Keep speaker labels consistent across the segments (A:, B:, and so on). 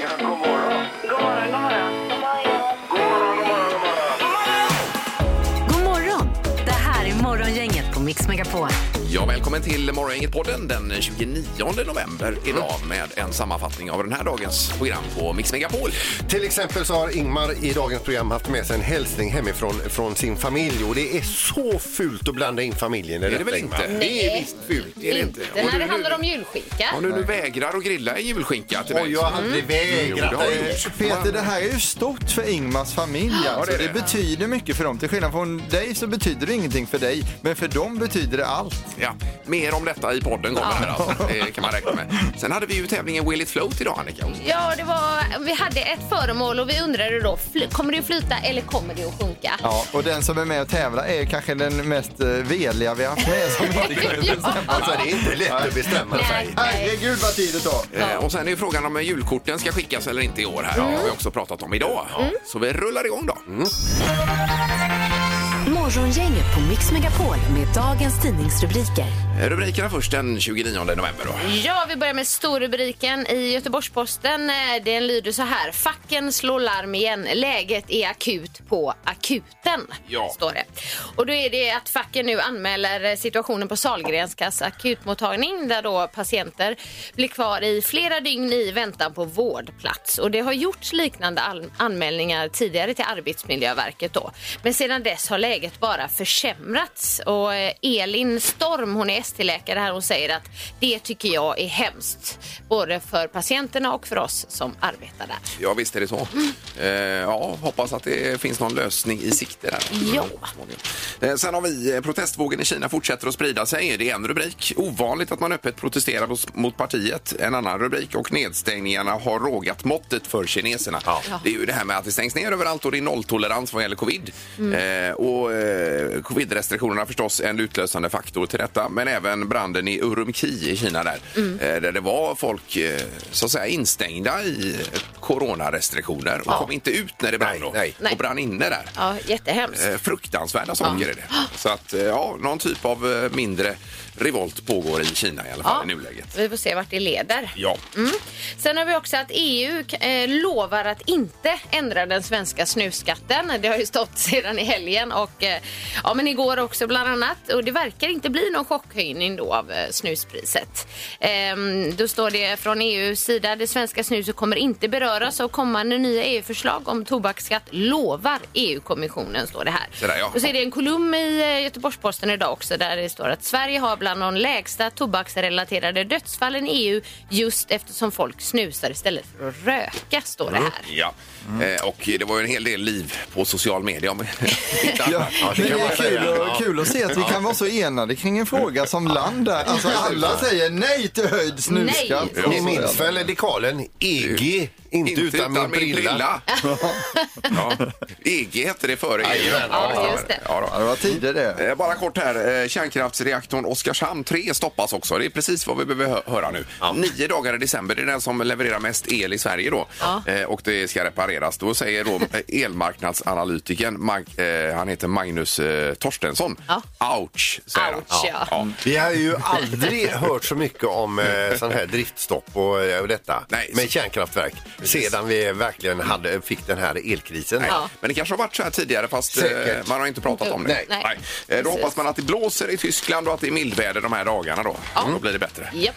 A: Ja, god morgon.
B: God morgon, god morgon.
A: God morgon, god morgon, god morgon.
C: God morgon! Det här är Morgongänget på Mix Megapol.
D: Ja, välkommen till Morgongänget-podden den 29 november idag med en sammanfattning av den här dagens program på Mix Megapol.
E: Till exempel så har Ingmar i dagens program haft med sig en hälsning hemifrån från sin familj och det är så fult att blanda in familjen i
D: Är det
E: detta,
D: väl
E: Ingmar.
D: inte? Det är visst fult, är det inte?
F: Det
D: Om
F: när
D: du
F: det
D: nu-
F: handlar om Mm. julskinka.
D: Om du nu vägrar att grilla en julskinka till
E: Oj,
D: mig.
E: jag har aldrig vägrat.
D: Mm. Jo, det har du gjort.
G: Peter, det här är ju stort för Ingmars familj. Alltså.
D: det är
G: det,
D: det.
G: betyder mycket för dem. Till skillnad från dig så betyder det ingenting för dig, men för dem betyder det allt.
D: Ja, mer om detta i podden kommer här alltså. Det kan man räkna med. Sen hade vi ju tävlingen Will it float idag, Annika.
F: Ja, det var, vi hade ett föremål och vi undrade då, fly, kommer det att flyta eller kommer det att sjunka?
G: Ja, och den som är med och tävlar är kanske den mest eh, veliga vi har haft med som inte kunde bestämma
E: Alltså,
G: sig.
E: det är inte lätt att bestämma sig.
G: Herregud vad tid det tar.
D: Eh, Och sen är ju frågan om julkorten ska skickas eller inte i år här.
F: Mm.
D: Det har vi också pratat om idag. Så vi rullar igång då.
C: Morgongänget på Mix Megapol med dagens tidningsrubriker.
D: Rubrikerna först den 29 november då.
F: Eh, Ja, vi börjar med storrubriken i Göteborgs-Posten. Eh, Den lyder så här. Facken slår larm igen. Läget är akut på akuten.
D: Ja.
F: Står det. Och då är det att facken nu anmäler eh, situationen på Sahlgrenskas akutmottagning där då patienter blir kvar i flera dygn i väntan på vårdplats. Och det har gjorts liknande an- anmälningar tidigare till Arbetsmiljöverket då. Men sedan dess har läget bara försämrats och eh, Elin Storm, hon är ST-läkare här, hon säger att det tycker jag är hemskt. Både för patienterna och för oss som arbetar där.
D: Ja, visst är det så. Eh, ja, hoppas att det finns någon lösning i sikte där.
F: Ja.
D: Eh, sen har vi eh, protestvågen i Kina fortsätter att sprida sig. Det är en rubrik. Ovanligt att man öppet protesterar mot- mot partiet. En annan rubrik. Och nedstängningarna har rågat måttet för kineserna. Det är ju det här med att det stängs ner överallt och det är nolltolerans vad gäller covid. Eh, och eh, covid-restriktionerna förstås en utlösande faktor till detta. Men även branden i Urumqi i Kina där. Eh, där det var folk eh, så att säga instängda i coronarestriktioner och kom inte ut när det brann då.
E: nej.
F: Nej.
D: Och brann inne där.
F: Ja, jättehemskt.
D: Eh, fruktansvärda saker är det. Så att, eh, ja, någon typ av eh, mindre revolt pågår i Kina i alla fall i nuläget.
F: Vi får se vart det leder.
D: Ja.
F: Mm. Sen har vi också att EU eh, lovar att inte ändra den svenska snusskatten. Det har ju stått sedan i helgen och eh, ja, men igår också bland annat. Och det verkar inte bli någon chockhöjning då av eh, snuspriset. Ehm, då står det från EUs sida, det svenska snuset kommer inte beröras av kommande nya EU-förslag om tobaksskatt lovar EU-kommissionen, står det här.
D: Så där, ja.
F: Och så är det en kolumn i eh, Göteborgs-Posten idag också där det står att Sverige har bland de lägsta tobaksrelaterade dödsfallen i EU just eftersom folk snusar istället för att röka, står det här.
D: Ja, eh, och det var ju en hel del liv på social media. om- Inte
G: Ja,
D: annat.
G: men
E: kan
G: det
E: man
G: är
E: säga.
G: kul, och, kul att se att vi kan vara så enade kring en fråga som land där. Alltså alla säger nej till höjd snusskatt.
F: Nej.
G: Och
E: Ni
G: så
E: minns
G: är det.
E: väl dekalen EG, inte, utan, min brilla.
D: ja. EG hette det före EU.
F: Ja, just det.
D: Ja, då.
G: Ja, det var tider det.
D: Eh, Bara kort här. eh, Kärnkraftsreaktorn Oskarshamn 3 stoppas också. Det är precis vad vi behöver hö- höra nu. Nio dagar i december. Det är den som levererar mest el i Sverige då. Eh, Och det ska repareras. Då säger då eh, elmarknadsanalytikern, Mag- eh, han heter Magnus eh, Torstensson. Ouch, säger
F: Ouch,
D: han.
F: ja. Mm.
E: Vi har ju aldrig hört så mycket om eh, sån här driftstopp och eh, detta
D: Nej, så-
E: med kärnkraftverk sedan vi verkligen hade, fick den här elkrisen.
D: Nej.
F: Ja.
D: Men det kanske har varit så här tidigare fast eh,
E: Säkert.
D: man har inte pratat om det.
E: Nej.
F: Nej.
D: Eh, Då
F: Precis.
D: hoppas man att det blåser i Tyskland och att det är mildväder de här dagarna då. Då blir det bättre.
F: Japp.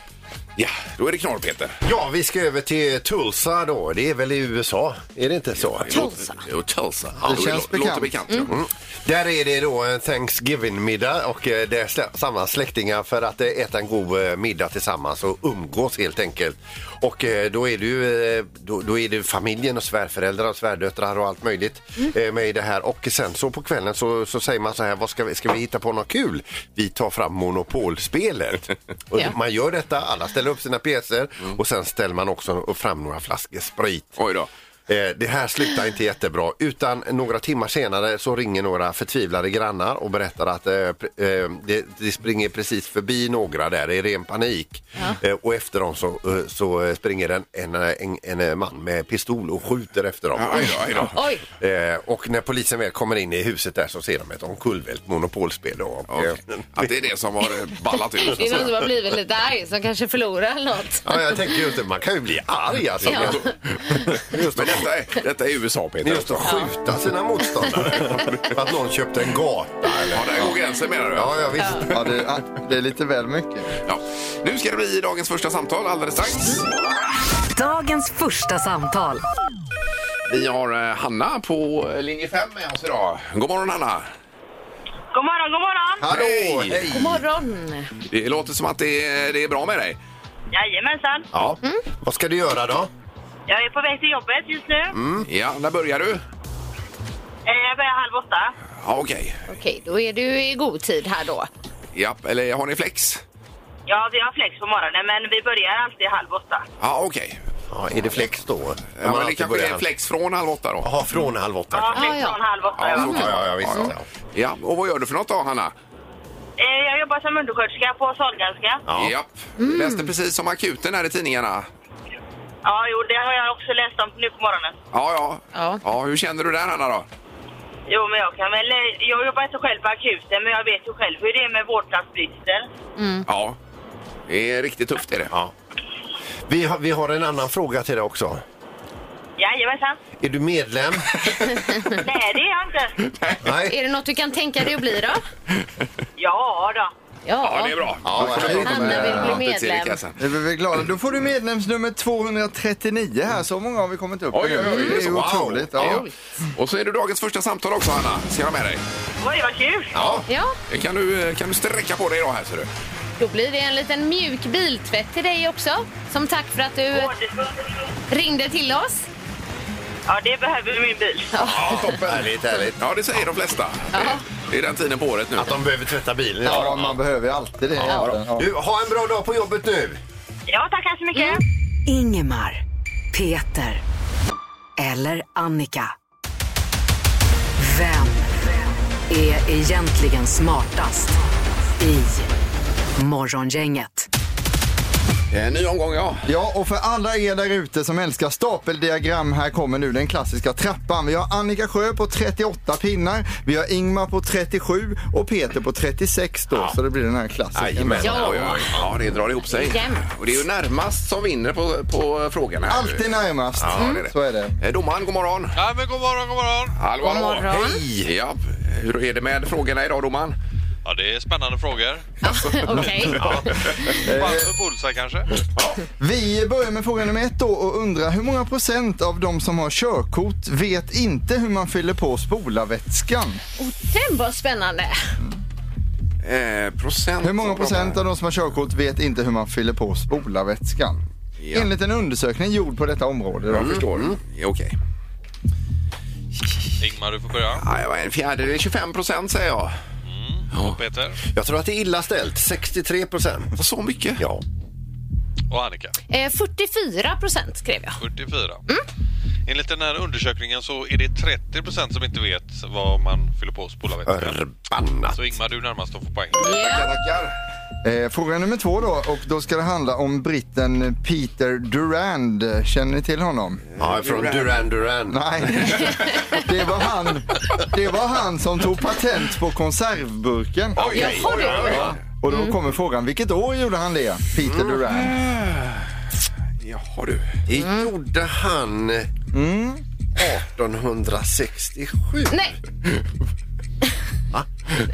D: Ja, då är det knorr Peter.
E: Ja, vi ska över till Tulsa då. Det är väl i USA? Är det inte så?
F: Tulsa.
D: Jo, Tulsa.
G: Det
D: Lå-
G: känns
D: Låter
G: bekant.
D: bekant. ja. Mm.
E: Där är det då en Thanksgiving-middag och eh, det är slä- samma släktingar för att eh, äta en god eh, middag tillsammans och umgås helt enkelt. Och eh, då är det ju eh, då, då är det familjen och svärföräldrar och svärdöttrar och allt möjligt
D: Mm.
E: eh, med i det här. Och sen så på kvällen så, så säger man så här, vad ska vi, ska vi hitta på något kul? Vi tar fram Monopolspelet. och
F: Ja.
E: Man gör detta, alla ställer upp sina pjäser och sen ställer man också fram några flaskor sprit.
D: Mm. Oj då.
E: Eh, Det här slutar inte jättebra utan några timmar senare så ringer några förtvivlade grannar och berättar att eh, pr- eh, det, det springer precis förbi några där i ren panik. Eh, och efter dem så, eh, så springer en, en, en, en man med pistol och skjuter efter dem.
D: Aj då, aj då.
F: Oj!
E: Eh, och när polisen väl kommer in i huset där så ser de ett omkullvält monopolspel. Och,
D: Okej.
E: eh,
D: Att det är det som har eh, ballat ut. så
F: Det
D: att
F: är någon som
D: säga.
F: har blivit lite arg som kanske förlorar något.
E: Ja, jag tänker ju inte, man kan ju bli arg alltså.
F: Ja.
E: Just
D: Men
E: att-
D: detta är, detta är USA, Peter.
E: Just att skjuta sina motståndare. att någon köpte en gata.
D: Ja, där går gränsen menar du?
E: Ja, ja visst.
G: Ja, det, ja, det är lite väl mycket.
D: Ja. Nu ska det bli dagens första samtal alldeles strax.
C: Dagens första samtal.
D: Vi har eh, Hanna på eh, linje 5 med oss idag. God morgon Hanna!
B: God morgon, god morgon!
G: Hallå!
D: Hej!
G: Hej!
F: God morgon!
D: Det låter som att det är, det är bra med dig.
B: Jajamensan!
E: Ja. Vad ska du göra då?
B: Jag är på väg till jobbet just nu.
E: Mm.
D: Ja, när börjar du?
B: Eh, Jag börjar halv åtta.
D: Ja, okej.
F: Okej, då är du i god tid här då.
D: Ja, eller har ni flex?
B: Ja, vi har flex på morgonen, men vi börjar alltid halv åtta.
D: Ja, okej.
E: Ja, är det flex då?
D: Ja, men det kanske är flex från halv åtta då?
E: Jaha, från halv åtta.
B: Ja,
E: kanske.
B: flex
F: Ah, ja.
B: från halv
D: Ja,
B: åtta, ja.
D: så kan-
E: Ja, ja, visst.
D: Ja, ja. Ja, och vad gör du för något då Hanna?
B: Eh, Jag jobbar som undersköterska på Sahlgrenska.
E: Ja.
D: Ja. Läste precis om akuten här i tidningarna.
B: Ja, jo, det har jag också läst om nu på morgonen.
D: Ja, ja.
F: Ja.
D: ja hur känner du där Hanna då?
B: Jo, men jag kan väl... eh, Jag jobbar inte själv på akuten, men jag vet ju själv hur det är med vårdplatsbristen.
F: Mm.
D: Ja. Det är riktigt tufft är det.
E: Ja. Vi, har, vi har en annan fråga till dig också.
B: Jajamensan!
E: Är du medlem?
B: Nej, det är jag inte.
E: Nej.
F: Är det något du kan tänka dig att bli då?
B: Ja, då.
D: Ja, det är bra.
G: Ja, vad härligt.
F: Hanna vill bli
D: Ja, till
F: medlem.
D: kassan.
G: Det är vi glada. Då får du medlemsnummer 239 här. Så många har vi kommit upp i
D: Oj, oj, oj.
G: nu. Det är ju
D: Wow.
G: otroligt. Ja.
D: Ja. Och så är det dagens första samtal också, Anna. Ser jag med dig?
B: Oj, vad kul!
D: Ja.
F: Ja,
D: Kan du, eh, kan du sträcka på dig idag här, ser du?
F: då blir det en liten mjuk biltvätt till dig också. Som tack för att du ringde till oss.
B: Ja, det behöver min bil.
D: Ja, toppen.
E: Härligt, härligt.
D: Ja, det säger de flesta. Det- Det är den tiden på året nu.
E: Att de behöver tvätta bilen
G: Ja,
E: idag.
G: man behöver ju alltid det. egentligen. Ja.
E: Du, ha en bra dag på jobbet nu.
B: Ja, tackar så mycket.
D: Mm.
C: Ingemar, Peter eller Annika. Vem är egentligen smartast i Morgongänget?
D: Eh, Ny omgång, ja.
G: Ja, och för alla er där ute som älskar stapeldiagram, här kommer nu den klassiska trappan. Vi har Annika Sjö på 38 pinnar, vi har Ingmar på 37 och Peter på 36 då, så det blir den här klassikern.
E: Jajamän.
F: Ja.
D: Oj, oj, oj. ja, det drar ihop sig.
F: Jämnt.
D: Och det är ju närmast som vinner på, på frågan här.
G: Alltid närmast, Mm.
D: Ja, det är det.
G: så är det.
D: Eh, Domaren, god morgon.
H: Ja, men god morgon, god morgon.
D: Hallå, hallå.
F: God morgon.
D: Hej. Ja, hur är det med frågorna idag, domaren?
H: Ja, det är spännande frågor.
F: Okej.
H: Varför bullseye kanske?
G: Vi börjar med fråga nummer ett då och undrar hur många procent av de som har körkort vet inte hur man fyller på spolarvätskan?
F: Den var spännande.
D: Eh, procent.
G: Hur många procent av de som har körkort vet inte hur man fyller på spolarvätskan?
D: Ja.
G: Enligt en undersökning gjord på detta område. Då.
D: Jag förstår. Mm. Okej.
H: Ingmar, du får börja.
D: Ja, vad är det? Fjärdedel? 25 procent säger jag.
H: Och Peter
E: Jag tror att det är illa ställt. 63 procent.
D: Så mycket?
E: Ja.
H: och Annika.
F: Eh, 44 procent skrev jag.
H: 44. Enligt den här undersökningen så är det 30 procent som inte vet vad man fyller på spolarvätskan.
E: Förbannat.
H: Så Ingmar, du är närmast att få poäng.
D: Tackar, tackar.
G: Eh, fråga nummer två då och då ska det handla om britten Peter Durand. Känner ni till honom?
E: Ja, från Duran Duran.
G: Nej. Det var han, det var han som tog patent på konservburken.
D: Oj,
F: Jaha,
D: oj, oj, oj.
G: Och då kommer frågan, vilket år gjorde han det? Peter Durand.
D: Jaha du.
E: Det gjorde han 1867.
F: Nej,
E: Va?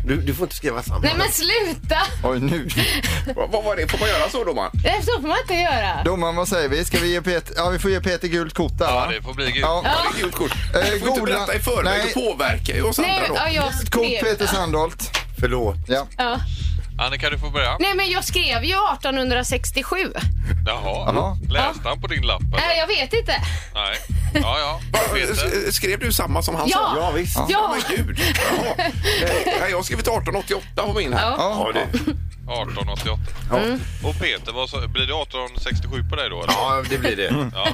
E: Du, du får inte skriva samma.
F: nej men sluta!
G: Oj, nu.
D: Vad, vad var det? Får man göra så domaren?
F: Det så får man inte göra.
G: Domaren, vad säger vi? Ska vi ge Peter, ja vi får ge Peter gult kort där
H: Ja,
G: va?
H: det får bli gult.
G: Ja.
D: Ja. Det är gult kort.
G: Eh,
D: Du får inte
G: goda-
D: berätta i förväg.
G: Nej.
D: Det påverkar ju oss
F: Nej,
D: andra då.
F: ja, jag
G: Kort
F: skrev...
G: Peter Sandholt.
E: Förlåt.
G: Ja.
F: Ja.
H: Annika, du får börja.
F: Nej men jag skrev ju 1867.
H: Jaha.
G: Jaha.
H: Läste han på din lapp? eller?
F: Nej, jag vet inte.
H: Nej. Ja, ja. Peter.
D: S- eh, Skrev du samma som han sa?
F: Ja!
E: Ja, visst.
F: Ja!
D: Men gud. Jaha. Eh, Jag har skrivit 1888 på min här.
F: Ja.
G: Ja.
D: det.
H: 1888. Och Peter, vad sa- blir det 1867 på dig då? Eller?
E: Ja, det blir det.
H: Ja.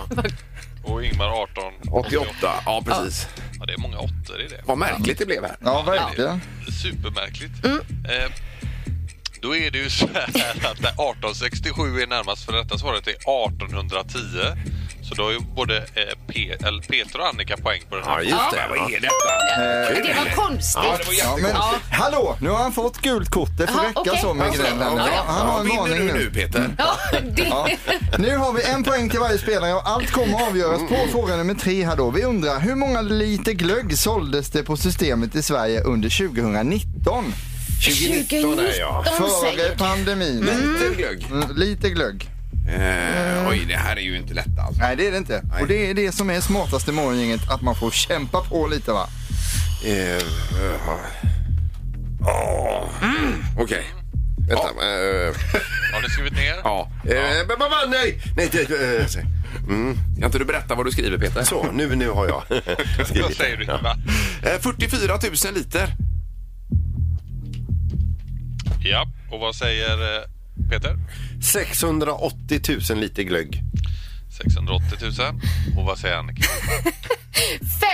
H: och Ingmar 18.
D: 88, ja precis.
H: Ja, det är många åttor i det.
D: Vad märkligt det blev här.
G: Ja, verkligen.
H: Supermärkligt. Eh, då är det ju så här att där 1867 är närmast för det rätta svaret är 1810. Så då har ju både eh, Pe- eller Peter och Annika poäng på den här.
D: just det. Vad är detta?
F: Det var konstigt.
H: Ja, det var
G: Ja,
H: jättekonstigt.
G: men,
F: Ja.
G: Hallå, nu har han fått gult kort. Det får
F: Jaha,
G: räcka
F: okej.
G: så med
F: Alltså,
G: grällen.
F: ja, ja.
G: Han har en
D: Vinner
G: varning
D: du
G: nu.
D: nu Mm. Peter?
F: Ja, det...
G: Ja. Nu har vi en poäng till varje spelare och allt kommer att avgöras på
D: Mm.
G: fråga nummer tre här då. Vi undrar hur många liter glögg såldes det på systemet i Sverige under 2019?
F: 2019
E: där, ja.
G: Före
F: säger
G: pandemin.
D: Lite glögg.
G: Mm, lite glögg.
D: Eh, oj, det här är ju inte lätt alltså.
G: Nej, det är det inte. Och det är det som är smartaste morgongänget, att man får kämpa på lite va.
E: Eh,
D: ah.
E: eh,
D: Mm. Okej.
E: vänta. eh,
H: Har ni skrivit ner?
D: Ja.
E: eh, men vad var- Nej! Nej, det, eh, se.
D: Kan inte du berätta vad du skriver Peter?
E: så, nu, nu har jag
H: Vad säger du Ingmar?
D: Eh, 44 000 liter.
H: Ja, och vad säger eh, Peter?
E: 680 000 liter glögg.
H: 680 000. Och vad säger Annika?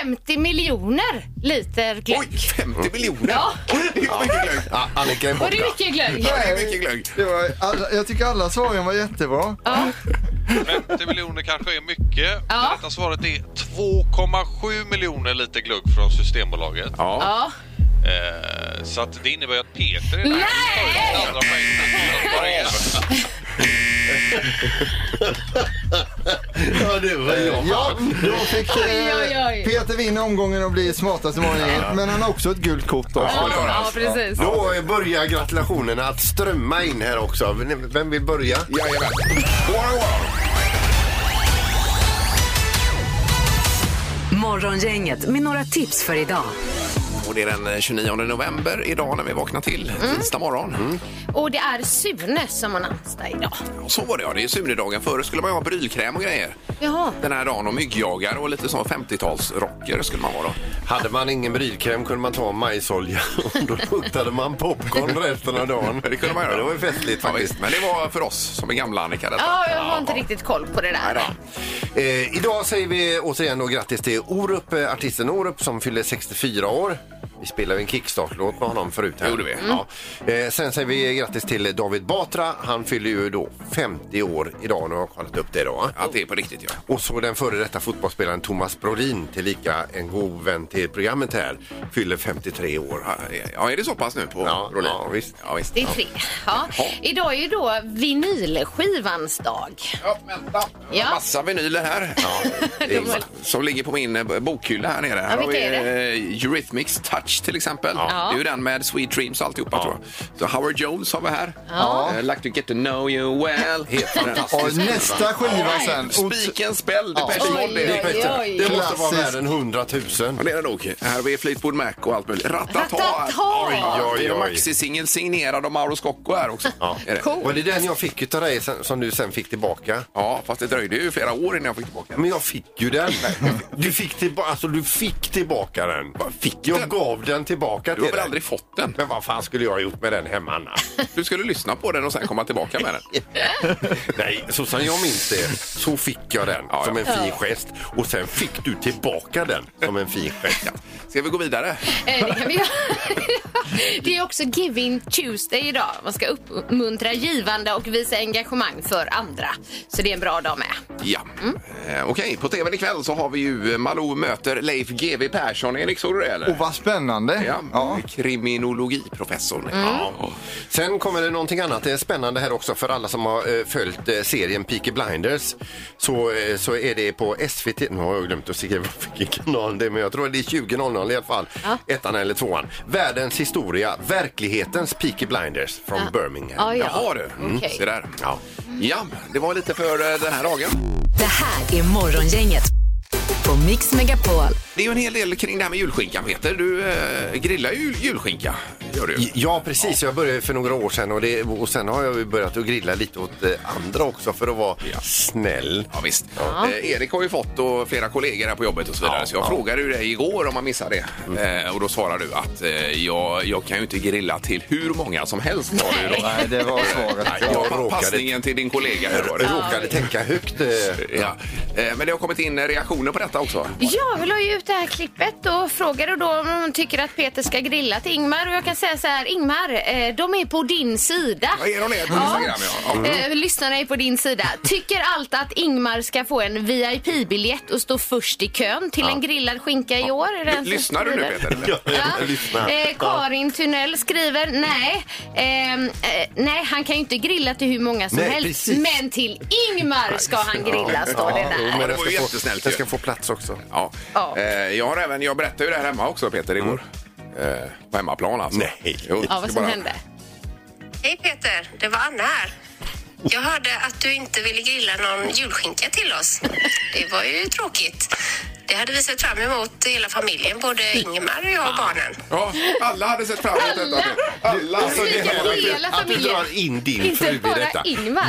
F: 50 miljoner liter glögg.
D: Oj, 50 miljoner!
F: Ja.
D: Det är mycket glögg.
E: Ah, Annika är
F: Var det
E: borta.
F: mycket glögg?
D: Ja, Det är mycket glögg.
G: Det var, alla, jag tycker alla svaren var jättebra.
H: 50 miljoner kanske är mycket.
F: Ja.
H: Det rätta svaret är 2,7 miljoner liter glögg från Systembolaget.
D: Ja.
F: Ja.
H: Eh, så att det innebär ju att Peter är
F: Nej!
H: Den andra poängen.
E: Ja, det var jag.
G: Ja, då fick eh,
F: Oj, oj, oj.
G: Peter vinna omgången och bli smartaste morgongänget. Men han har också ett gult kort då.
F: Ja, ja, precis.
E: Då börjar gratulationerna att strömma in här också. Vem vill börja?
D: Jajamän. God morgon, god morgon.
C: Morgongänget med några tips för idag.
D: Och det är den eh, 29 november idag när vi vaknar till, tisdag morgon.
F: Och det är Sune som har namnsdag idag.
D: Och Så var det ja, det är Sunedagen. Förr skulle man ju ha brylkräm och grejer.
F: Jaha.
D: Den här dagen och myggjagare och lite sån 50-talsrocker skulle man vara då.
E: Hade man ingen brylkräm kunde man ta majsolja och då luktade man popcorn resten av dagen.
D: Det kunde man göra.
E: Det var ju festligt
D: Ja,
E: faktiskt.
D: visst. Men det var för oss som är gamla Annika detta.
F: Ja, jag har inte riktigt koll på det där.
E: Eh, idag säger vi återigen då grattis till Orup, eh, artisten Orup som fyller 64 år. Vi spelade en kickstart-låt med honom förut. Här.
D: Gjorde vi. Mm.
E: Ja. Eh, sen säger vi grattis till David Batra. Han fyller ju då 50 år idag. Nu har jag kollat upp det då. va?
D: Att det är på riktigt ja.
E: Och så den före detta fotbollsspelaren Thomas Brodin, tillika en god vän till programmet här, fyller 53 år.
D: Ja, Ja, är det så pass nu på
E: Ja,
D: Rolin?
E: ja, visst.
D: Ja, visst.
F: Det är tre. Ja. Idag är ju då vinylskivans dag.
D: Ja, vänta.
F: Ja.
D: Massa vinyler här.
E: Det är-
D: Som ligger på min eh, bokhylla här nere. Här
F: Ja,
D: har vi
F: vilka är
D: eh, Eurythmics Touch till exempel.
F: Ja.
D: Det är ju den med Sweet Dreams och alltihopa tror jag. Så Howard Jones har vi här.
F: Ja.
D: Eh, like to get to know you well. Helt
G: Och nästa skiva sen.
D: Speak and spell, Depeche Mode. det är-
E: Det måste vara
G: Klassisk.
E: värre än 100 000.
D: Ja, det är det nog. Här har vi Fleetwood Mac och allt möjligt. Ratata!
F: Ratata!
D: Oj, oj, oj.
E: Oj,
D: Det är en
E: oj.
D: maxisingel signerad av Mauro Scocco här också. Ja. Är det?
E: Var det den jag fick utav dig sen, som du sen fick tillbaka?
D: ja, fast det dröjde ju flera år innan jag fick tillbaka den.
E: Men jag fick ju den. Du fick, tillba- alltså, du fick tillbaka den. Fick jag
D: den?
E: gav den
D: Du
E: tillbaka till
D: har väl
E: dig.
D: aldrig fått den?
E: Men vad fan skulle jag ha gjort med den hemma annars?
D: Du skulle lyssna på den och sen komma tillbaka med den.
E: Nej, så som jag minns det så fick jag den
D: Ja,
E: som
D: ja.
E: en fin gest och sen fick du tillbaka den som en fin gest.
D: Ska vi gå vidare?
F: Eh, Det kan vi göra. Det är också Giving Tuesday idag. Man ska uppmuntra givande och visa engagemang för andra. Så det är en bra dag med.
D: Ja. Eh, Okej, på tvn ikväll så har vi ju Malou möter Leif GW Persson. Erik, såg du det eller?
G: Och vad spännande.
D: Ja, Mm.
G: Ja.
D: kriminologiprofessorn. Ja.
E: Sen kommer det någonting annat det är spännande här också för alla som har eh, följt eh, serien Peaky Blinders. Så, eh, så är det på SVT, nu har jag glömt att skriva vilken kanal det är men jag tror det är 20.00 i alla fall. Ettan eller tvåan. Världens historia, verklighetens Peaky Blinders från Birmingham.
F: Ja, ja.
D: Jaha du, mm.
F: Okej.
D: se där.
E: Ja.
D: Ja, det var lite för eh, den här dagen.
C: Det här är Morgongänget på Mix Megapol.
D: Det är ju en hel del kring det här med julskinkan Peter. Du eh, grillar ju julskinka. gör du ju.
E: Ja, precis. Jag började för några år sedan och, det, och sen har jag ju börjat att grilla lite åt eh, andra också för att vara
D: Ja.
E: snäll.
D: Ja, visst. Eh, Erik har ju fått och flera kollegor här på jobbet och så vidare.
E: Ja,
D: så jag
E: ja. Mm.
D: frågade ju dig igår om man missade det. Eh, och då svarade du att eh, jag, jag kan ju inte grilla till hur många som helst. Var det ju då.
G: Nej, det var svaret.
D: Nej, jag
E: Jag råkade-
D: Passningen till din kollega. här var
E: Jag
D: det.
E: råkade tänka högt. eh,
D: Ja. Eh, Men det har kommit in eh, reaktioner på detta också.
F: Ja, vi la ju ut det här klippet och frågade då om hon tycker att Peter ska grilla till Ingmar. Och jag kan säga så här, Ingmar, eh, de är på din sida.
D: Ja, är de det på Instagram, ja. Ja.
F: Eh, lyssnarna är på din sida. Tycker allt att Ingmar ska få en VIP-biljett och stå först i kön till en grillad skinka i år. Är det en som
D: Lyssnar du nu
F: skriver?
D: Peter? eller?
F: Ja. Eh, Karin Tunnell skriver nej. ehm, eh, nej, han kan ju inte grilla till hur många som
E: Nej,
F: helst.
E: precis.
F: Men till Ingmar ska han grilla, står det
E: jo,
F: där.
E: men
D: det var
E: jag
D: ju
E: ska få,
D: jättesnällt
E: jag
D: ju.
E: ska få plats också.
D: Ja.
F: Ja.
D: Eh, Jag, har även, jag berättade ju det här hemma också Peter igår. Eh, På hemmaplan alltså.
E: Mm. Nej.
D: Jo,
F: Ja, vad som
D: bara-
F: hände.
I: Hej Peter, det var Anna här. Jag hörde att du inte ville grilla någon julskinka till oss. Det var ju tråkigt. Det hade vi sett fram emot hela familjen, både Ingemar och jag och barnen.
D: Ja, alla hade sett fram emot detta. Alla!
E: Alltså, det här
F: Hela
E: att du- att du
F: familjen.
E: drar in din
F: Inte
E: fru i
F: bara
E: detta.
F: Ingvar.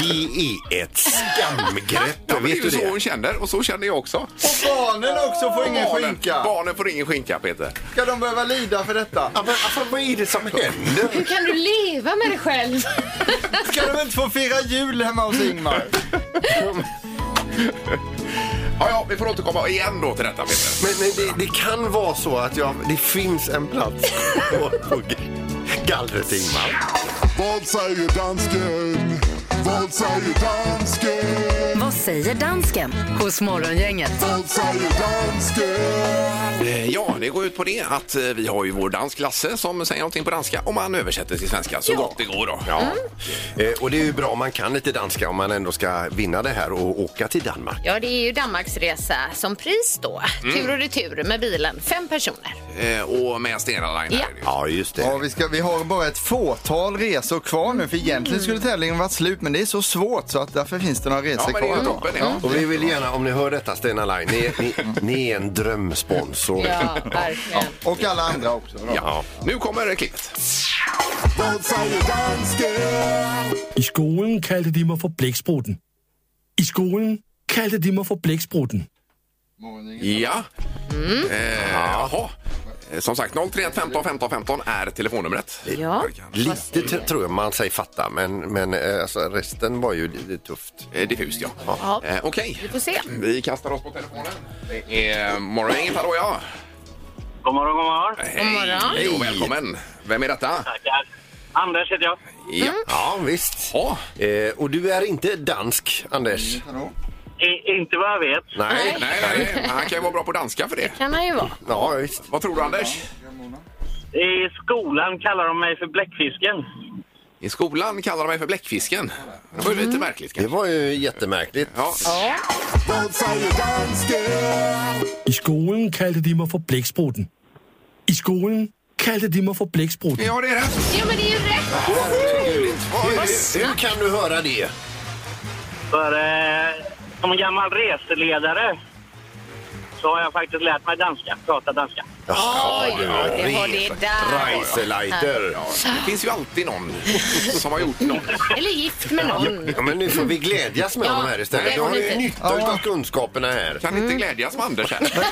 E: Det är ett skamgrepp,
D: Ja, men det är
E: vet
D: ju
E: du
D: så hon
E: det?
D: känner och så känner jag också.
G: Och barnen också får ingen
D: barnen,
G: skinka.
D: barnen får ingen skinka Peter.
G: Ska de behöva lida för detta?
E: Ja, men, alltså, vad är det som händer?
F: Hur kan du leva med dig själv?
G: Ska de inte få fira jul hemma hos Ingmar?
D: Ja, ja, vi får återkomma igen då till detta Peter.
E: Men men det, det kan vara så att jag, det finns en plats på, på gallret, Ingmar.
J: Vad säger dansken? Vad säger dansken?
C: Vad säger dansken hos Morgongänget?
J: Vad säger dansken?
D: Eh, Ja, det går ut på det att eh, vi har ju vår dansk Lasse som säger någonting på danska om man översätter till svenska så gott det går då.
E: Ja. Eh, och det är ju bra om man kan lite danska om man ändå ska vinna det här och åka till Danmark.
F: Ja, det är ju Danmarksresa som pris då.
E: Mm.
F: Tur och retur med bilen. Fem personer.
D: Eh, Och med Stena Line. här
F: Ja.
D: är det ju.
E: Ja, just det.
G: Ja, vi, ska, vi har bara ett fåtal resor kvar nu för egentligen skulle tävlingen varit slut men det är så svårt så att därför finns det några
D: Ja,
G: resor
D: men det är
G: kvar.
D: ju
G: då.
D: toppen. Ja.
E: Och vi vill gärna, om ni hör detta Stena Line, ni, ni, ni är en drömsponsor.
F: Ja, verkligen.
G: Och alla andra också. Då.
D: Ja. Nu kommer klippet.
J: Vad säger dansken?
K: I skolen kaldte de mig for blæksprutten. I skolen kaldte de mig for blæksprutten.
D: Ja. Eh, jaha. Eh, Som sagt, 031 15 15 15 är telefonnumret.
F: Ja.
E: Lite t- tror jag man sig fatta, men, men eh, alltså, resten var ju lite tufft.
D: Eh, Diffust, ja.
F: Ja.
D: Eh, Okej.
F: Vi får se.
D: Vi kastar oss på telefonen. Det är eh, Morgongänget, hallå ja.
B: God morgon, god morgon.
D: Hej.
F: morgon.
D: Hej och välkommen. Vem är detta?
B: Tackar. Anders heter jag.
D: Ja.
E: Ja, visst.
D: Ja.
E: Eh, och du är inte dansk, Anders?
B: I, inte vad jag vet.
E: Nej.
D: Nej, nej, nej. Han kan ju vara bra på danska för det.
F: Kan han ju vara.
E: Ja, visst.
D: Vad tror du, Anders?
B: I skolan kallar de mig för bläckfisken.
D: I skolan kallar de mig för bläckfisken. Det var ju lite märkligt
E: Det
D: kanske.
E: var ju jättemärkligt.
D: Ja.
J: Vad säger dansken?
K: I skolen kaldte de mig for blæksprutten. I skolen kaldte de mig for blæksprutten.
D: Ja, det är rätt.
F: Ja, men det är ju rätt.
E: Hur, hur kan du höra det?
B: För eh, som en gammal reseledare så har jag faktiskt lärt mig danska, prata danska.
F: Oj, det var det där.
E: Reiseleiter.
D: Det finns ju alltid någon som har gjort något.
F: Eller gift med någon.
E: Ja, men nu får vi glädjas med
F: Ja,
E: honom här istället.
F: det
E: Då har
F: får
E: ni
F: ni.
E: nytta av kunskaperna här.
D: Kan inte glädjas med Anders här.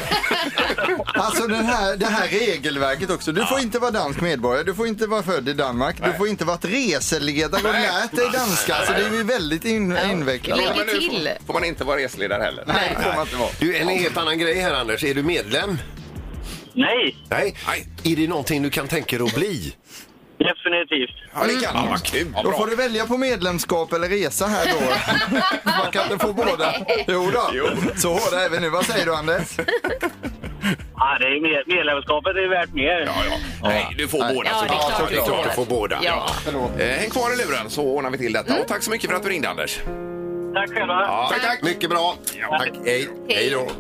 G: Alltså den här, det här regelverket också. Du får inte vara dansk medborgare, du får inte vara född i Danmark, du får inte vara reseledare och lärt dig danska. Så det är ju väldigt in, invecklat.
F: Lägg
D: Men nu
F: till.
D: får, får man inte vara reseledare heller.
G: Nej, det får man inte vara.
E: Du, en helt annan grej här Anders. Är du medlem?
B: Nej,
E: Nej.
D: Nej.
E: Är det någonting du kan tänka dig att bli?
B: definitivt.
D: Ja, det kan man. Vad kul. Ja,
G: Då
D: bra.
G: får du välja på medlemskap eller resa här då. Man kan inte få båda. Jo då. Så hårda är vi nu. Vad säger du Anders?
B: Ja, det är med, medlemskapet är värt mer.
D: Ja, ja. Nej, du får båda
F: Ja, det är
D: såklart.
F: klart du
E: Du får
F: får.
E: båda.
F: Ja. Mm.
D: Eh, häng kvar i luren så ordnar vi till detta. Och tack så mycket för att du ringde, Anders.
B: Tack själva.
E: Tack, tack. Mycket bra. Tack. Hej. Hej då.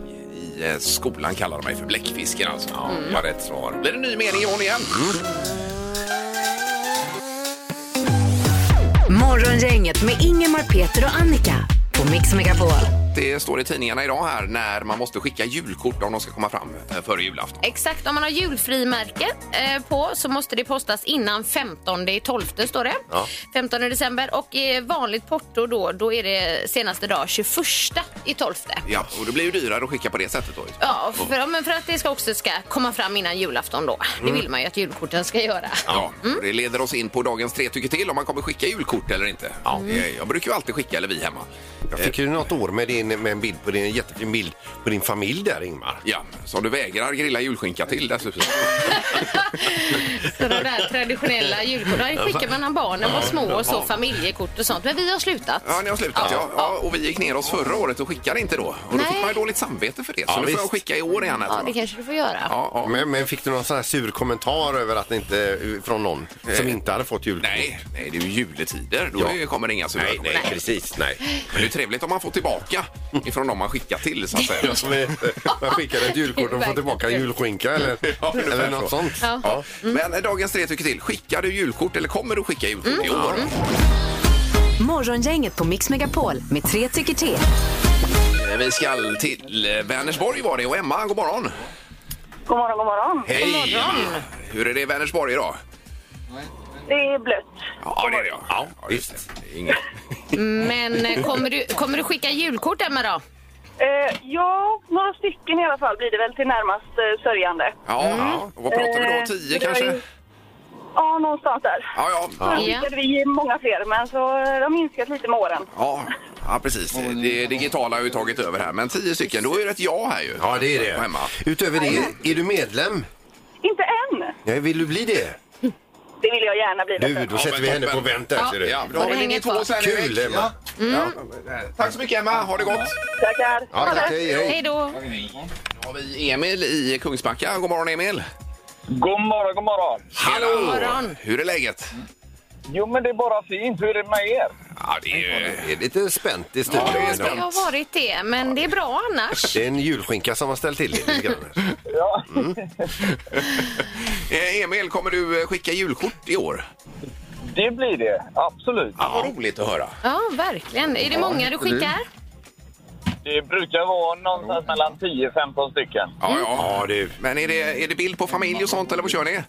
D: I eh, skolan kallar de mig för bläckfisken alltså. Ja, var rätt svar. Blir det en ny mening imorgon igen?
E: Mm.
C: Morgongänget med Ingemar, Peter och Annika på Mix Megapol.
D: det står i tidningarna idag här när man måste skicka julkort om de ska komma fram eh, före julafton.
F: Exakt, om man har julfrimärke eh, på så måste det postas innan 15 i 12 står det.
D: Ja.
F: 15 december och eh, vanligt porto då, då är det senaste dag 21 i 12.
D: Ja, och det blir ju dyrare att skicka på det sättet då.
F: Ja, för, ja, men för att det ska också ska komma fram innan julafton då. Det vill man ju att julkorten ska göra.
D: Ja,
F: Mm.
D: och det leder oss in på dagens tre tycker till om man kommer skicka julkort eller inte. Eh, Jag brukar ju alltid skicka, eller vi hemma.
E: Jag fick ju något år med, din, med en bild på din, en jättefin bild på din familj där Ingmar.
D: Ja, som du vägrar grilla julskinka till dessutom.
F: Så de där traditionella julkorten, det skickar man när barnen var små och så, familjekort och sånt. Men vi har slutat.
D: Ja, ni har slutat ja. ja. Och vi gick ner oss förra året och skickade inte då. Och då fick
F: Nej.
D: man ju dåligt samvete för det. Så
E: Ja,
D: nu får jag
E: visst.
D: skicka i år igen. här,
F: Ja,
D: tror
F: det
D: jag.
F: kanske du får göra.
D: Ja, ja.
E: Men, men fick du någon sån här sur kommentar över att det inte från någon som inte hade fått julkort?
D: Eh, Nej, nej, det är ju juletider. Då
E: Ja.
D: kommer det inga sura
E: nej, nej,
D: kommentarer.
E: precis, nej.
D: Men det är trevligt om man får tillbaka ifrån dem man skickar till så att säga.
E: Ja, som är, man skickar ett julkort och får tillbaka en julskinka eller,
D: Ja, ungefär
E: eller
D: så.
E: något sånt.
F: Ja.
E: Ja.
D: Men eh, dagens tre tycker till. Skickar du julkort eller kommer du skicka julkort i år?
C: Morgongänget på Mix Megapol med tre tycker till.
D: Eh, Vi ska till eh, Vänersborg var det och Emma, god morgon.
L: God morgon, god morgon.
D: Hej! Hur är det i Vänersborg idag?
L: Det är blött.
D: Ja, det är det ja. ja
E: visst.
D: det. Inget.
F: Men eh, kommer du, kommer du skicka julkort, Emma, då?
L: Eh, ja, några stycken i alla fall blir det väl till närmast eh, sörjande.
D: Ja, ja. Och vad pratar vi då?
L: Eh,
D: Tio
L: det var
D: kanske?
L: ju- Ja, någonstans där.
D: Ja, ja.
L: Sen skickade vi många fler, men så eh, det har minskat lite med åren.
D: Ja, ja precis. Det digitala har ju tagit över här. Men tio stycken, då är det ett ja här ju.
E: ja, det är
D: På
E: det.
D: Hemma.
E: Utöver det, är du medlem?
L: Inte än!
E: Nej, vill du bli det?
L: Det vill jag gärna bli.
E: Du, då sätter vi henne på vänt där ser du.
D: Ja, då har
F: det
D: vi linje
F: hänger
D: två
F: kvar.
D: sen
E: Kul,
D: Erik.
E: Emma.
D: Ja. Ja. Tack så mycket Emma, ha det gott!
L: Tackar!
E: Ja,
L: Ha det.
E: tack, hej, hej.
F: Hej då.
D: Nu har vi Emil i Kungsbacka. God morgon Emil!
B: God morgon, god morgon.
D: Hallå!
F: morgon.
D: Hur är läget?
B: Jo, men det är bara fint. Hur är det med er?
D: Ja, det är ju...
E: Det är lite spänt i studion.
D: Ja, det är
E: idag.
F: Det har varit det, men det är bra annars.
E: det är en julskinka som har ställt till det lite grann.
B: Ja.
D: Eh, Emil, kommer du eh, skicka julkort i år?
B: Det blir det, absolut.
D: Ja. Vad roligt att höra.
F: Ja, verkligen. Är det många du skickar?
B: Det brukar vara någonstans mellan 10-15 stycken.
D: Ja, ja.
E: Ja, du.
D: Men är det, är det bild på familj och sånt eller vad kör ni?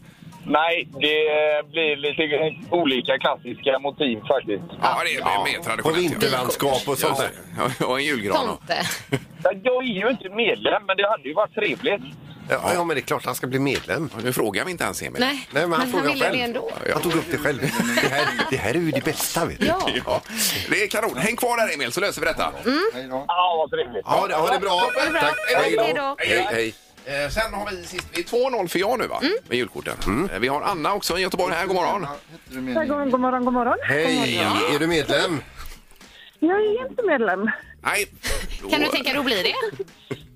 B: Nej, det blir lite olika klassiska motiv faktiskt.
D: Ja, det är mer
E: På
D: traditionellt.
E: vinterlandskap och sånt
D: Ja,
E: där.
D: Ja, och en julgran. och-
F: Tomte.
B: Jag är ju inte medlem, men det hade ju varit trevligt.
E: Ja, ja, men det är klart han ska bli medlem.
D: Nu frågar vi inte ens Emil.
F: Nej,
E: Nej, men han frågar
F: ville
E: själv.
F: det ändå.
E: Han tog upp det själv. Det här, det här är ju det bästa. Vet du.
F: Ja.
D: Ja, det är kanon. Häng kvar där Emil så löser vi detta.
B: Ja, vad trevligt.
E: Ha, det, Mm. ha det bra. Tack. Hej
F: Hej
E: då.
F: då.
E: Hej, hej.
D: Eh, sen har vi sist, vi är 2-0 för ja nu va?
E: Mm.
D: Med julkorten. Eh, vi har Anna också i Göteborg här, god morgon.
L: God, god morgon, god morgon.
E: Hej. Är du medlem?
L: Jag är inte medlem.
D: Nej. Då-
F: Kan du tänka dig att bli det?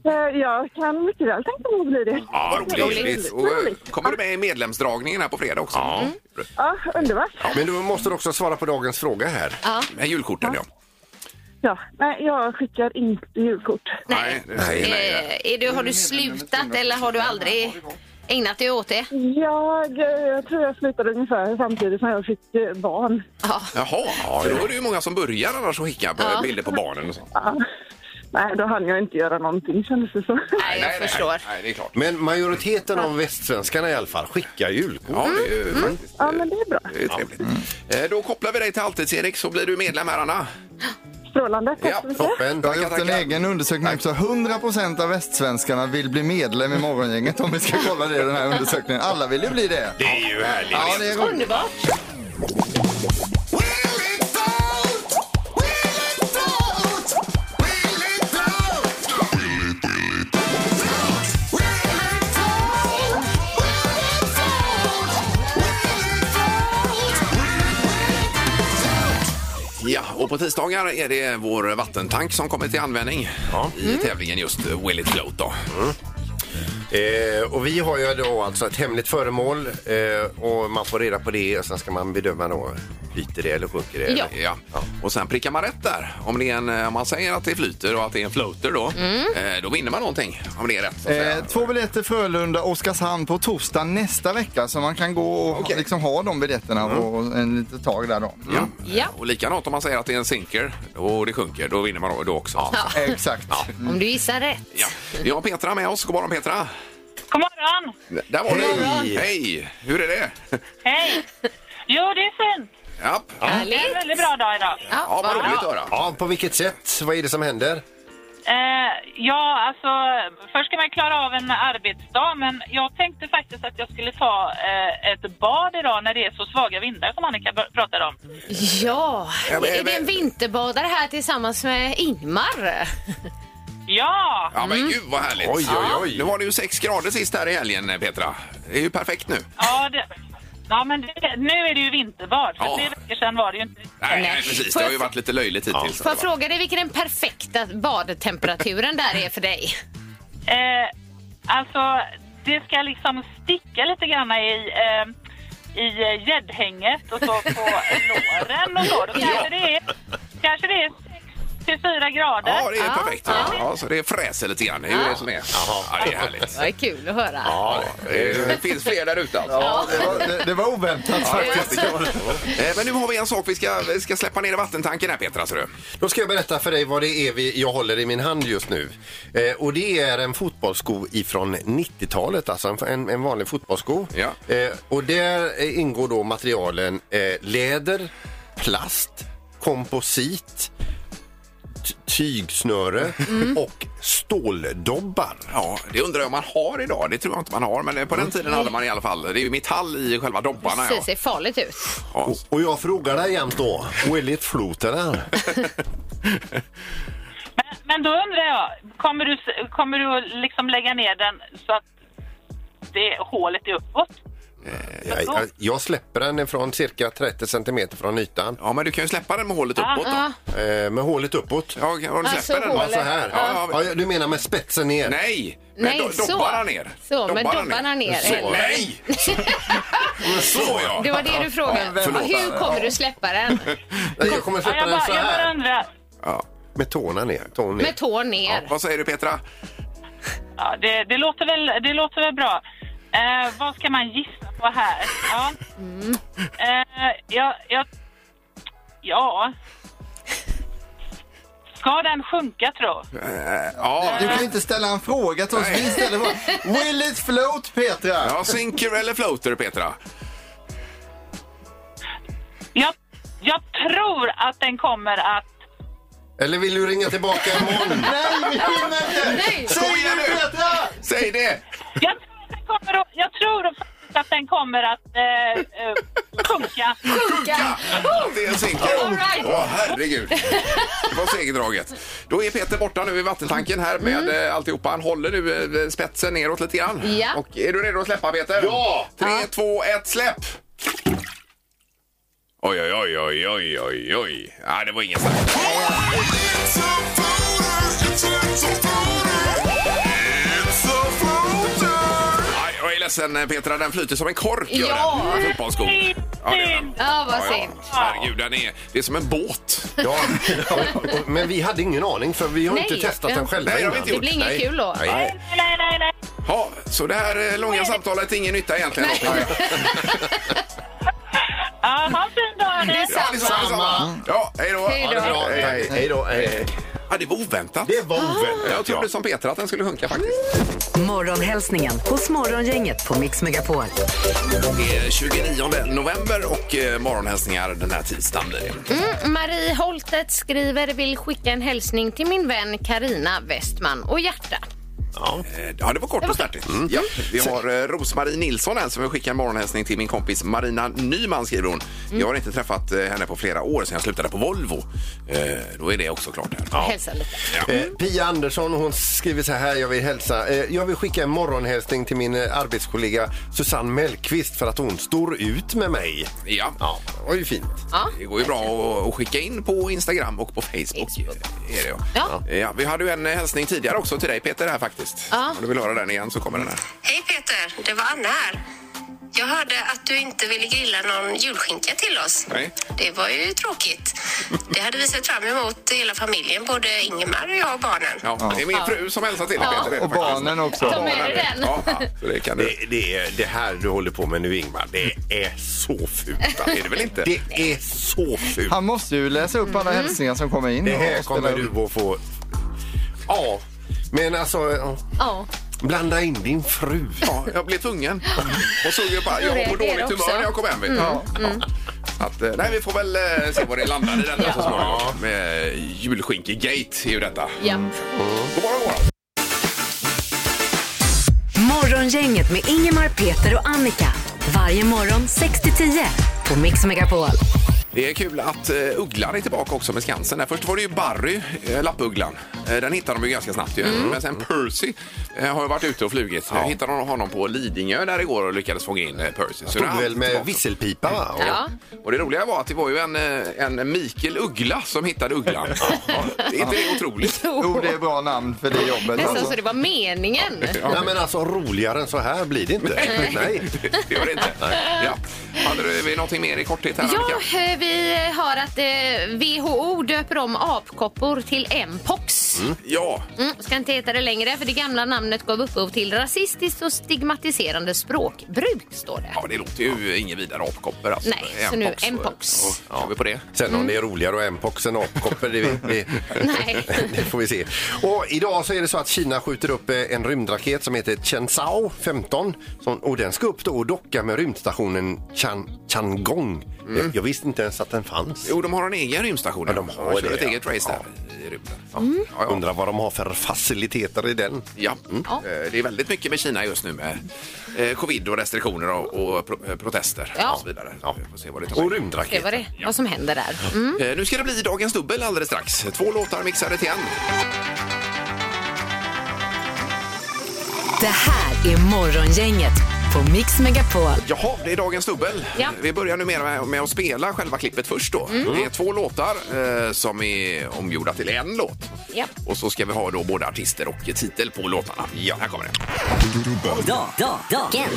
L: Eh, jag kan mycket väl tänka mig att bli det.
D: Ja, roligt.
F: Roligt.
D: Och, eh, kommer du med i medlemsdragningen här på fredag också? Mm. Ja.
L: Ja, underbart.
E: Men du måste också svara på dagens fråga här.
F: Ja.
D: Med julkorten ja.
L: Ja, nej, jag skickar inte julkort.
D: Nej. Nej. Nej.
F: Eh, Är du, har du slutat eller har du aldrig ägnat dig åt det?
L: Jag, eh, jag tror jag slutade ungefär samtidigt som jag fick eh, barn.
D: Jaha, för då är det ju många som börjar annars att skicka på bilder på barnen och sånt.
L: Ja. Nej, då hann jag inte göra någonting kändes det som.
F: Nej, jag förstår.
D: Nej, det är klart.
E: Men majoriteten av västsvenskarna i alla fall skickar julkort.
D: Ja, det är ju faktiskt
L: Ja, men det är bra.
D: det är trevligt. Eh, Då kopplar vi dig till Alltids-Erik så blir du medlem här Anna.
L: Strålande. Tack
D: Ja,
L: så mycket.
E: Toppen.
G: Jag har
D: Tackar,
G: gjort en
D: tackar.
G: egen undersökning också. 100% av västsvenskarna vill bli medlem i Morgongänget om vi ska kolla det i den här undersökningen. Alla vill ju bli det.
E: Det är ju härligt.
G: Ja, det är roligt.
F: Underbart.
D: Ja, och på tisdagar är det vår vattentank som kommer till användning i tävlingen just eh, Will it float då.
E: Eh, och vi har ju då alltså ett hemligt föremål eh, och man får reda på det och sen ska man bedöma då flyter det eller sjunker
F: Eh,
E: det.
D: Ja.
E: eller-
D: Och sen prickar man rätt där. Om, det är en, eh, om man säger att det flyter och att det är en floater då,
F: Mm.
D: eh, då vinner man någonting om det är rätt. Så att säga.
G: Eh, två biljetter Frölunda-Oskarshamn på torsdag nästa vecka. Så man kan gå och liksom ha de biljetterna och en litet tag där då.
D: Ja. Eh, Och likadant om man säger att det är en sinker och det sjunker, då vinner man då- då också.
F: Ja.
G: Exakt.
D: Ja.
F: Om du gissar rätt.
D: Ja. Vi har Petra med oss. God morgon Petra!
L: God morgon!
D: Där var
E: Hej.
D: du! Hej! Hur är det?
L: Hej! Jo, det är fint.
D: Japp. Ja,
L: Det är en väldigt bra dag idag.
D: ja vad roligt att höra.
E: Ja, på vilket sätt? Vad är det som händer?
L: Eh, ja, alltså först ska man klara av en arbetsdag men jag tänkte faktiskt att jag skulle ta eh, ett bad idag när det är så svaga vindar som Annika b- pratade om.
F: Ja,
D: Ja, men-
F: är det en vinterbadare här tillsammans med Ingmar?
L: Ja!
D: Ja,
F: Mm.
D: men gud vad härligt!
E: Oj, oj, oj.
D: Nu var det ju sex grader sist här i helgen eh, Petra. Det är ju perfekt nu.
L: Ja, det, ja men det, nu är det ju vinterbad. För
D: Ja.
L: tre veckor sedan var det ju inte.
D: Nej, nej precis.
F: Får
D: Det
F: jag
D: har ju
F: fr-
D: varit lite löjligt hittills.
F: Får jag fråga dig vilken den perfekta badtemperaturen där är för dig?
L: Eh, alltså, det ska liksom sticka lite grann i... Eh, i eh, gäddhänget och så på låren och så. Då kanske det är, kanske det är 6-4 grader.
D: Ja, det är perfekt. Ja. Ja, så det fräser lite grann. Det är ju det som är. Ja, det är härligt.
F: Det är kul att höra.
D: Ja, det finns fler där ute alltså.
G: Ja, det, var, det, det var oväntat faktiskt.
F: alltså
D: Eh, Men nu har vi en sak vi ska, vi ska släppa ner i vattentanken här Petra. Ser du.
E: Då ska jag berätta för dig vad det är vi, jag håller i min hand just nu. Eh, och det är en fotbollssko ifrån 90-talet, alltså en, en, en vanlig fotbollssko.
D: Ja.
E: Eh, och där eh, ingår då materialen eh, läder, plast, komposit, t- tygsnöre
D: Mm.
E: och ståldobbar.
D: Ja, det undrar jag om man har idag. Det tror jag inte man har, men eh, på den tiden hade man i alla fall. Det är ju metall i själva dobbarna.
F: Precis,
D: Ja.
F: det ser farligt ut.
D: Ja.
E: Och jag frågar dig jämt då, vilket flot är det här?
L: Men, men då undrar jag, kommer du, s- kommer du att liksom lägga ner den så att det hålet är uppåt?
E: Eh, Jag, jag, jag släpper den från cirka 30 centimeter från ytan
D: ja, men du kan ju släppa den med hålet uppåt då.
E: eh, med hålet uppåt.
D: Ja, kan- om du
F: Alltså,
D: släpper den.
E: Ja, så här.
D: Ja, ja,
E: Ja, ja, du menar med spetsen ner?
D: Nej!
F: Nej,
D: do-
F: så.
D: dobbarna ner.
F: Så, men dobbarna ner.
D: Så. Nej! så ja!
F: Det var det du frågade.
G: Ja, förlåt.
F: Hur kommer du släppa den?
E: Nej, jag kommer
L: Ja,
E: släppa
L: jag,
E: den
L: bara,
E: så
L: jag bara
E: här.
L: undrar.
D: ja.
E: Med tårna ner. Tån ner.
F: Med tår
D: Ja,
F: ner.
D: vad säger du Petra?
L: Ja, det, det, låter väl, det låter väl bra. Eh, vad ska man gissa på här? Ja, eh, jag, jag, ja. Ska den sjunka tro?
D: Ja,
G: Du kan inte ställa en fråga till oss. Vi ställer bara, Will it float Petra?
D: ja sinker eller floater Petra?
L: Jag, jag tror att den kommer att...
E: Eller vill du ringa tillbaka imorgon?
G: Nej, vi hinner
F: Nej.
G: inte!
D: Kom
G: Säg
D: igen
G: nu
D: nu.
G: Petra!
D: Säg det!
L: Jag tror, att den kommer att, jag tror faktiskt att den kommer att eh, eh, sjunka.
D: Sjunka! Det är en sinker. Åh,
F: All right.
D: herregud. Det var segerdraget. Då är Peter borta nu i vattentanken här med mm. alltihopa. Han håller nu eh, spetsen neråt lite grann.
F: Ja.
D: Och är du redo att släppa Peter?
E: Ja!
D: Tre, två, ett, släpp! Oj, oj, oj, oj, oj, oj, oj. Nej, det var ingen snack. Nej, Jag är ledsen eh, Petra, den flyter som en kork gör
F: Ja.
D: den. Fotbollsskon. Ja, det gör den.
F: Ja, vad
D: Ja, ja.
F: synd.
D: Herregud, den är, det är som en båt.
E: Ja, men vi hade ingen aning för vi har
F: Nej.
E: inte testat den själva
D: Nej, det har vi
E: innan.
D: inte gjort.
F: Det blir inget
E: Nej.
F: kul då.
E: Nej.
L: Nej, nej, nej.
D: Ja, så det här eh, långa samtalet är ingen nytta egentligen.
L: Ja, ha en fin dag. hörni.
D: Ja, detsamma, detsamma. liksom Ja, hej då.
F: Hej då.
E: Ha det bra. Hej, hej då. Hej.
D: Ja, det var oväntat.
E: Det var
D: Jag
E: oväntat.
D: trodde som Petra att den skulle sjunka faktiskt.
C: Morgonhälsningen hos Morgongänget på Mix Megapol.
D: Det är 29 november och eh, morgonhälsningar den här tisdagen blir det.
F: Marie Holtet skriver vill skicka en hälsning till min vän Karina Westman och hjärta.
E: Ja.
D: Eh, Ja, det var kort och snärtigt. Ja, Mm. vi har eh, Rosmarie Nilsson här som vill skicka en morgonhälsning till min kompis Marina Nyman, skriver hon.
F: Mm.
D: Jag har inte träffat eh, henne på flera år sedan jag slutade på Volvo. Eh, Då är det också klart här.
F: Hälsa lite.
E: Eh, Pia Andersson hon skriver så här, jag vill hälsa. Eh, jag vill skicka en morgonhälsning till min eh, arbetskollega Susanne Mellqvist för att hon står ut med mig.
D: Ja.
E: Ja, det var ju fint.
F: Ja.
D: Det går ju bra att- att skicka in på Instagram och på Facebook.
F: Facebook.
D: Är det, ja.
F: Ja.
D: Ja, vi hade ju en eh, hälsning tidigare också till dig Peter här faktiskt.
I: Ja.
D: Om du vill höra den igen så kommer den här.
I: Hej Peter, det var Anna här. Jag hörde att du inte ville grilla någon julskinka till oss.
D: Nej.
I: Det var ju tråkigt. Det hade vi sett fram emot hela familjen, både Ingemar och jag och barnen.
D: Ja, Det är min fru som hälsar till dig
I: Ja.
D: Peter.
I: Och
E: barnen också.
I: Ta med dig den.
D: Ja, så det, kan du.
E: Det, det, är- det här du håller på med nu Ingmar, det är så fult. alltså.
D: Är det väl inte?
E: Det är så fult.
G: Han måste ju läsa upp alla hälsningar som kommer in.
E: Det här
G: och spela
E: kommer
G: upp.
E: du att få... Ja, men alltså... ja.
F: Ja.
E: Blanda in din fru.
D: Ja, jag blev tvungen. Och såg ju bara,
F: Jag
D: jag var på
F: reagerar
D: dåligt
F: också.
D: humör när jag kom hem. vet du.
F: Mm. Mm.
D: Att, eh, nej, vi får väl eh, se var det landar i detta så småningom. Med eh, julskinkegate är ju detta.
F: Ja.
D: God morgon, god morgon.
C: Morgongänget med Ingemar, Peter och Annika. Varje morgon 6 till 10 på Mix Megapol.
D: Det är kul att eh, Ugglan är tillbaka också med Skansen. Där. Först var det ju Barry, eh, lappugglan. Eh, den hittade de ju ganska snabbt ju. Men sen Percy eh, har ju varit ute och flugit. Ja. Hittade de honom på Lidingö där igår och lyckades fånga in eh, Percy. Så nu är
E: Stod
D: han
E: väl med
D: tillbaka.
E: visselpipa va? Och-
F: Ja.
D: Och det roliga var att det var ju en, eh, en Mikael Uggla som hittade ugglan. Ja, Är inte det otroligt?
G: Jo, Oh, det är bra namn för det jobbet.
F: Nästan
G: Alltså.
F: så det var meningen.
E: Nej men alltså roligare än så här blir det inte. Nej.
D: Det gör det inte. Ja. Hade du, vi någonting mer i korthet här Annika?
F: Ja, eh, vi har att eh, WHO döper om apkoppor till mpox.
D: Ja,
F: Mm, ska inte heta det längre, för det gamla namnet gav upphov till rasistiskt och stigmatiserande språkbruk, står det.
D: ja, det låter ju ingen vidare apkoppor. Alltså.
F: Nej, så nu mpox.
D: Och, ja, har vi på det?
E: Sen om det är roligare att ha mpox än apkoppor, det, vet vi-
F: Nej.
E: det får vi se. Och idag så är det så att Kina skjuter upp eh, en rymdraket som heter Chenzhou 15 som, och den ska upp då och docka med rymdstationen Chan, Changong. Jag, jag visste inte ens att den fanns.
D: Mm. Jo, de har en egen rymdstation.
E: Ja, de
D: kör
E: har det,
D: ett
E: ja. Mm.
D: eget race där i rymden. Ja.
F: Mm.
D: Ja, ja.
E: Undrar vad de har för faciliteter i den.
D: Ja. Eh, det är väldigt mycket med Kina just nu med eh, covid och restriktioner och, och pro eh, protester
F: Ja.
D: och så vidare. Ja. Vi får se vad det tar vägen.
E: Och
F: Se vad,
E: rymdraketer.
F: det, vad som händer där. Mm.
D: Eh, Nu ska det bli Dagens Dubbel alldeles strax. Två låtar mixade till en.
C: Det här är Morgongänget på Mix Megapol.
D: Jaha, det är Dagens Dubbel.
F: Ja. Mm.
D: Vi börjar nu med, med att spela själva klippet först då. Det är två låtar eh, som är omgjorda till en låt.
F: Ja.
D: Och så ska vi ha då både artister och titel på låtarna. Ja. Här kommer det.
C: Dag, dag, dagens.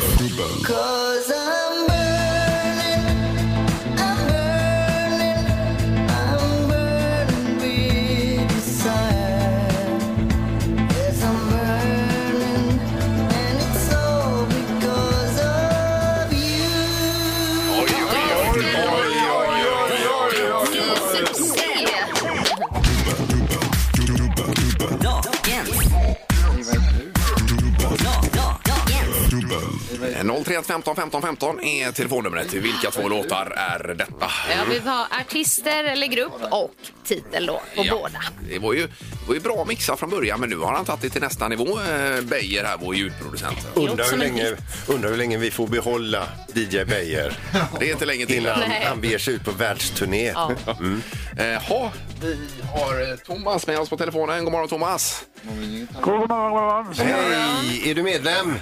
D: Oj, oj, oj, oj, oj, oj, oj, oj.
F: Succé!
C: Dagens. Dag, dag, dagens.
D: 031 15 15 15 är telefonnumret. Vilka två låtar är detta?
F: Ja, vi har artister eller grupp och titel då på båda.
D: Det var ju, det var ju bra mixar från början men nu har han tagit det till nästa nivå, eh, Beijer här, vår ljudproducent.
E: Undrar
F: Låter
E: hur,
F: som en
E: länge, undrar hur länge vi får behålla DJ Beijer
D: Det är inte länge till.
E: innan
F: Nej.
E: han beger sig ut på världsturné.
F: Ja.
D: Eh, ha, vi har eh, Thomas med oss på telefonen. God morgon Thomas!
B: God morgon, god morgon.
E: Hej! Är du medlem?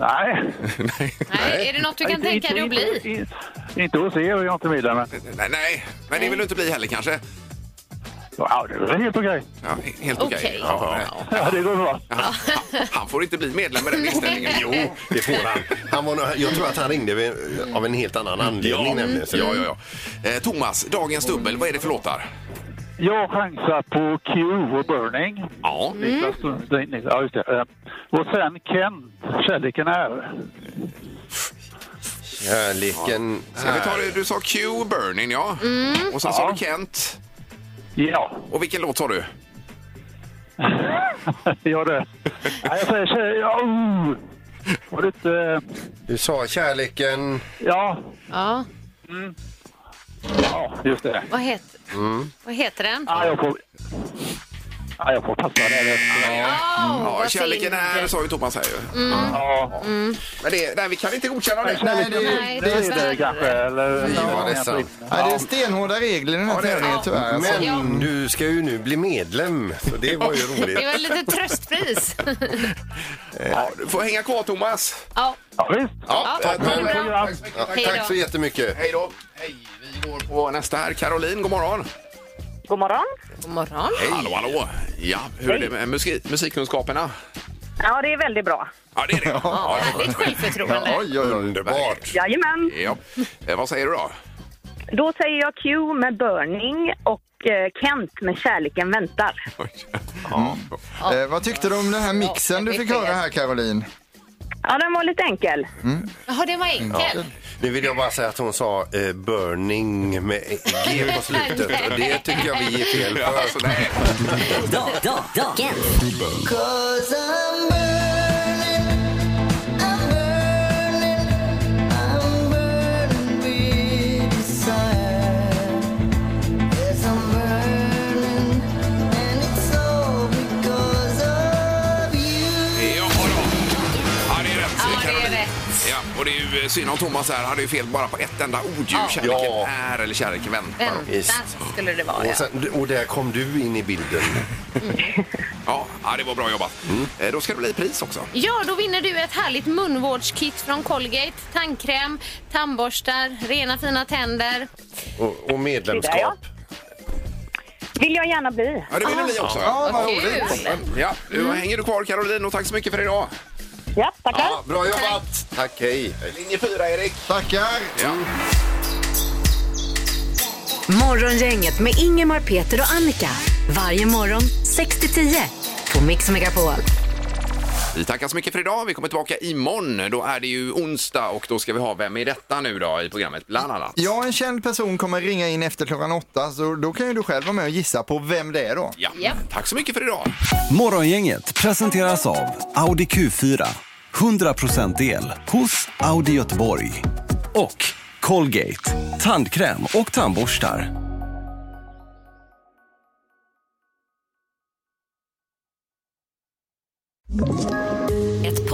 B: Nej.
F: Nej, är det något du kan tänka dig att bli?
B: Inte, inte hos er, och jag är inte medlem.
D: Nej, nej, men det vill du inte bli heller kanske?
B: Ja, det är väl helt okej.
D: Ja, he- helt okej.
F: Okej.
D: Ja,
B: Ja, det går bra.
D: han, han får inte bli medlem med den inställningen. Jo.
E: Det får han. han var, nog- jag tror att han ringde vid- av en helt annan anledning nämligen. Så
D: Mm. Ja, ja, ja. Eh, Thomas, dagens dubbel, vad är det för låtar?
B: Jag chansar på Q och Burning.
D: Ja.
B: Niklas Sundin. Ja, just det. Eh, Och sen Kent, Kärleken är.
E: Kärleken
D: Ska vi ta
E: här.
D: det? Du sa Q, Burning, ja. Och sen sa
B: Ja.
D: du Kent.
B: Ja,
D: Och vilken låt sa du?
B: ja det. Nej, jag säger tjej... Ja, uh. Var det inte... eh,
E: Du sa kärleken...
B: Ja,
F: Ja,
B: ja just det.
F: vad heter, vad heter den?
B: Ja, jag får... Ja, jag får passa där.
F: Åh,
D: Ja,
F: vad
D: kärleken
F: synd.
D: är, sa ju Thomas här ju.
B: Ja,
D: Men det, nej, vi kan inte godkänna det.
G: Nej, det,
F: Nej,
G: är- det är
F: tyvärr.
G: det.
B: kanske. Eller...
E: Fy vad ledsamt.
G: Nej, det är stenhårda regler i den här
D: det är det.
G: tävlingen tyvärr. Alltså.
F: Ja.
E: Men du ska ju nu bli medlem. Så det var ju roligt.
F: Det var lite tröstpris.
D: Ja, du får hänga kvar Thomas.
F: Ja,
B: Ja, visst.
F: ja,
E: tack.
F: ha det bra.
B: Ja.
E: Ja,
F: Hej
E: tack
F: då.
E: så jättemycket.
D: Hej då. Hej, vi går på nästa här. Caroline, god morgon.
B: God morgon.
F: God morgon.
D: Hej. Hallå, hallå! Ja, hur är det med musik, musikkunskaperna?
B: Ja, det är väldigt bra.
D: Ja, det är det. Ja,
F: Härligt självförtroende.
D: Ja, oj, oj, underbart!
B: Jajamän.
D: Ja. Eh, vad säger du då?
B: Då säger jag Q med Burning och eh, Kent med Kärleken väntar.
G: Eh, vad tyckte du om den här mixen du fick höra här Caroline?
B: Ja, den var lite enkel.
F: Jaha, den var
E: Ja.
F: enkel.
E: Nu vill jag bara säga att hon sa eh, burning med G på slutet och det tycker jag vi ger fel för.
C: Cause I'm burning, I'm burning, I'm burning with desire. Yes, I'm burning, and it's all because of you.
D: Ja, ja det är rätt.
F: Ja, det är rätt.
D: Ja, och det är ju eh, synd om Thomas här. Han hade ju fel bara på ett enda ord. ju.
F: Ja.
D: Kärleken
E: Ja.
D: är eller kärleken väntar.
F: Vänta skulle det vara, ja.
E: Och, sen, och där kom du in i bilden.
D: Ja, ja, det var bra jobbat. Eh, Då ska det bli pris också.
F: Ja, då vinner du ett härligt munvårdskit från Colgate. Tandkräm, tandborstar, rena fina tänder.
E: Och, och medlemskap.
B: Vill jag gärna bli.
D: Ja, det vill ni också.
G: Ja, vad
F: Kul.
G: roligt.
D: Ja, nu hänger du kvar Caroline och tack så mycket för idag.
B: Ja, tackar.
E: Ja, bra jobbat! Tack, hej!
D: Linje 4, Erik. Mm.
G: Tackar!
D: Ja.
M: Morgongänget med Ingemar, Peter och Annika. Varje morgon 6-10 på Mix Megapol.
D: Vi tackar så mycket för idag. Vi kommer tillbaka imorgon. Då är det ju onsdag och då ska vi ha Vem är detta nu då i programmet bland annat.
G: Ja, en känd person kommer ringa in efter klockan åtta så då kan ju du själv vara med och gissa på vem det är då.
D: Ja.
F: Ja.
D: Tack så mycket för idag.
L: Morgongänget presenteras av Audi Q4. 100% el hos Audi Göteborg. Och Colgate. Tandkräm och tandborstar.
M: Ett